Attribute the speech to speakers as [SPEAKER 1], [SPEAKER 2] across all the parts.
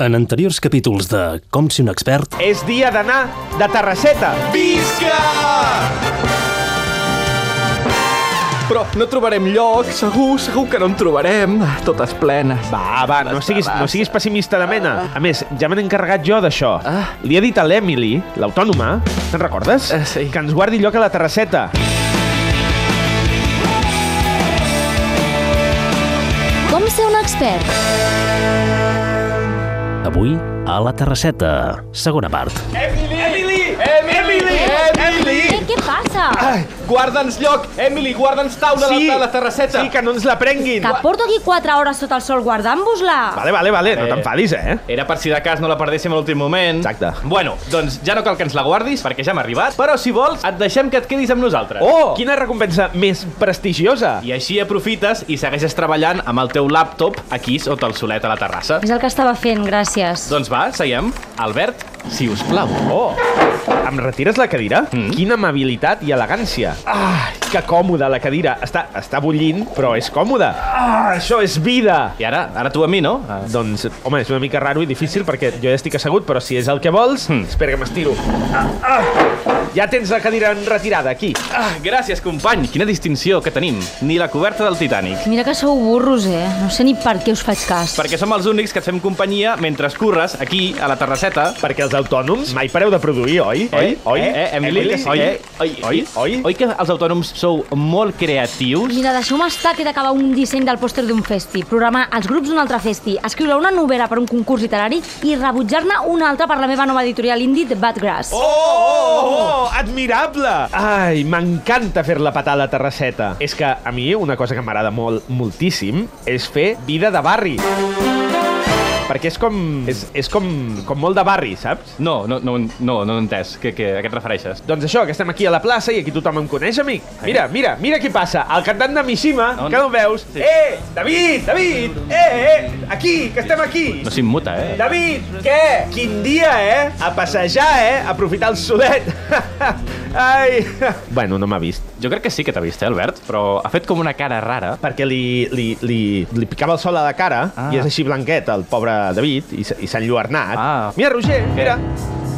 [SPEAKER 1] En anteriors capítols de Com si un expert,
[SPEAKER 2] És dia d'anar de Terrasseta.
[SPEAKER 3] Visca! Però no trobarem lloc, segur, segur que no en trobarem. Totes plenes.
[SPEAKER 2] Va, va, no siguis, no siguis pessimista de mena.
[SPEAKER 4] Ah.
[SPEAKER 2] A més, ja me n'he encarregat jo d'això.
[SPEAKER 3] Ah.
[SPEAKER 2] Li he dit a l'Emily, l'autònoma, te'n recordes?
[SPEAKER 4] Ah,
[SPEAKER 3] Eh, sí.
[SPEAKER 2] Que ens guardi lloc a la terrasseta.
[SPEAKER 5] Com ser un expert?
[SPEAKER 1] avui a la Terrasseta, segona part.
[SPEAKER 3] Emily! Emily! Emily!
[SPEAKER 5] Què, què passa?
[SPEAKER 3] Ai, guarda'ns lloc, Emily, guarda'ns taula
[SPEAKER 2] Sí.
[SPEAKER 3] a la terrasseta.
[SPEAKER 2] Sí, que no ens la prenguin.
[SPEAKER 5] Que porto aquí 4 hores sota el sol guardant-vos-la.
[SPEAKER 2] Vale, vale, vale, no
[SPEAKER 4] Eh.
[SPEAKER 2] t'enfadis, eh?
[SPEAKER 4] Era per si de cas no la perdéssim a l'últim moment.
[SPEAKER 2] Exacte.
[SPEAKER 4] Bueno, doncs ja no cal que ens la guardis, perquè ja hem arribat, però si vols et deixem que et quedis amb nosaltres.
[SPEAKER 2] Oh! Quina recompensa més prestigiosa.
[SPEAKER 4] I així aprofites i segueixes treballant amb el teu laptop aquí sota el solet a la terrassa.
[SPEAKER 5] És el que estava fent, gràcies.
[SPEAKER 4] Doncs va, seiem. Albert, si us plau.
[SPEAKER 2] Oh, em retires la cadira? Mm. Quina amabilitat i elegància. Ah, que còmoda la cadira. Està, està bullint, però és còmoda. Ah, això és vida.
[SPEAKER 4] I ara, ara tu a mi, no? Ah.
[SPEAKER 2] Doncs, home, és una mica raro i difícil perquè jo ja estic assegut, però si és el que vols... Mm. Espera que m'estiro. Ah, ah, ja tens la cadira enretirada, aquí.
[SPEAKER 4] Ah, gràcies, company. Quina distinció que tenim. Ni la coberta del Titanic.
[SPEAKER 5] Mira que sou burros, eh? No sé ni per què us faig cas.
[SPEAKER 4] Perquè som els únics que et fem companyia mentre curres aquí, a la terrasseta.
[SPEAKER 2] Perquè els autònoms mai pareu de produir, oi?
[SPEAKER 4] Oi?
[SPEAKER 2] Oi?
[SPEAKER 4] Eh, Emily?
[SPEAKER 2] Oi?
[SPEAKER 4] Oi?
[SPEAKER 2] Oi? Oi? Oi?
[SPEAKER 4] Oi que els autònoms sou molt creatius?
[SPEAKER 5] Mira, deixeu-me estar que he d'acabar un disseny del pòster d'un festi, programar els grups d'un altre festi, escriure una novel·la per un concurs literari i rebutjar-ne una altra per la meva nova editorial indie, The Badgrass.
[SPEAKER 2] Oh, oh, oh, admirable! Ai, m'encanta fer la patada a la terrasseta. És que a mi una cosa que m'agrada molt, moltíssim, és fer vida de barri. Perquè és com... És, és com, com molt de barri, saps?
[SPEAKER 4] No, no, no, no, no he entès. Que, que, a què et refereixes?
[SPEAKER 2] Doncs això, que estem aquí a la plaça i aquí tothom em coneix, amic. Mira, mira, mira qui passa. El cantant de Mishima,
[SPEAKER 4] On?
[SPEAKER 2] que no el veus.
[SPEAKER 4] Sí.
[SPEAKER 2] Eh, David, David! Eh, eh, aquí, que estem aquí!
[SPEAKER 4] No s'immuta, eh?
[SPEAKER 2] David, què? Quin dia, eh? A passejar, eh? A aprofitar el solet. Ai. Bueno, no m'ha vist.
[SPEAKER 4] Jo crec que sí que t'ha vist, eh, Albert? Però ha fet com una cara rara.
[SPEAKER 2] Perquè li, li, li, li picava el sol a la cara ah.
[SPEAKER 4] Ah.
[SPEAKER 2] i és així blanquet, el pobre David, i, s- i s'ha enlluernat.
[SPEAKER 4] Ah.
[SPEAKER 2] Mira, Roger,
[SPEAKER 4] Què?
[SPEAKER 2] mira.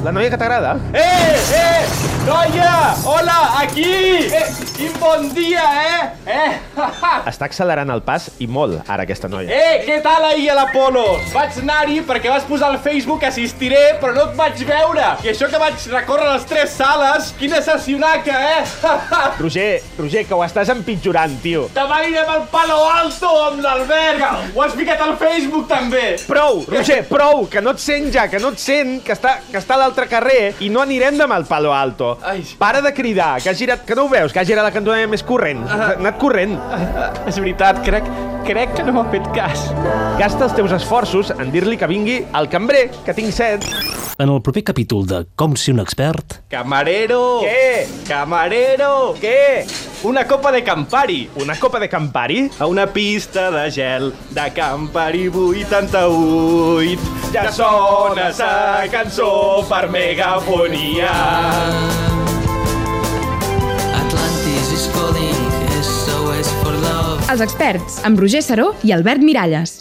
[SPEAKER 2] La noia que t'agrada.
[SPEAKER 3] Eh, eh, noia! Hola, aquí! Eh, quin bon dia, eh? Eh, ha, ha.
[SPEAKER 2] Està accelerant el pas i molt, ara, aquesta noia.
[SPEAKER 3] eh què tal ahir a l'Apolo? Vaig anar-hi perquè vas posar al Facebook que assistiré, però no et vaig veure. I això que vaig recórrer les tres sales, quina sessionaca, eh? Ha, ha.
[SPEAKER 2] Roger, Roger, que ho estàs empitjorant, tio.
[SPEAKER 3] Demà anirem al Palo Alto amb l'Albert. Ho has ficat al Facebook, també.
[SPEAKER 2] Prou, Roger, prou, que no et sent ja, que no et sent, que està, que està a l'altre carrer i no anirem demà al Palo Alto.
[SPEAKER 3] Ai.
[SPEAKER 2] Para de cridar, que ha girat, que no ho veus, que ha girat la cantonada més corrent.
[SPEAKER 4] Ah.
[SPEAKER 2] Ha anat corrent.
[SPEAKER 3] És veritat, crec, crec que no m'ha fet cas.
[SPEAKER 2] Gasta els teus esforços en dir-li que vingui al cambrer, que tinc set.
[SPEAKER 1] En el proper capítol de Com si un expert,
[SPEAKER 4] Camarero!
[SPEAKER 2] Què?
[SPEAKER 4] Camarero!
[SPEAKER 2] Què?
[SPEAKER 4] Oh. Una copa de Campari!
[SPEAKER 2] Una copa de Campari?
[SPEAKER 4] A una pista de gel de Campari 88.
[SPEAKER 2] Ja
[SPEAKER 3] Sona sa cançó per megafonia.
[SPEAKER 6] Atlantis is calling, SOS for love.
[SPEAKER 7] Els experts, amb Roger Saró i Albert Miralles.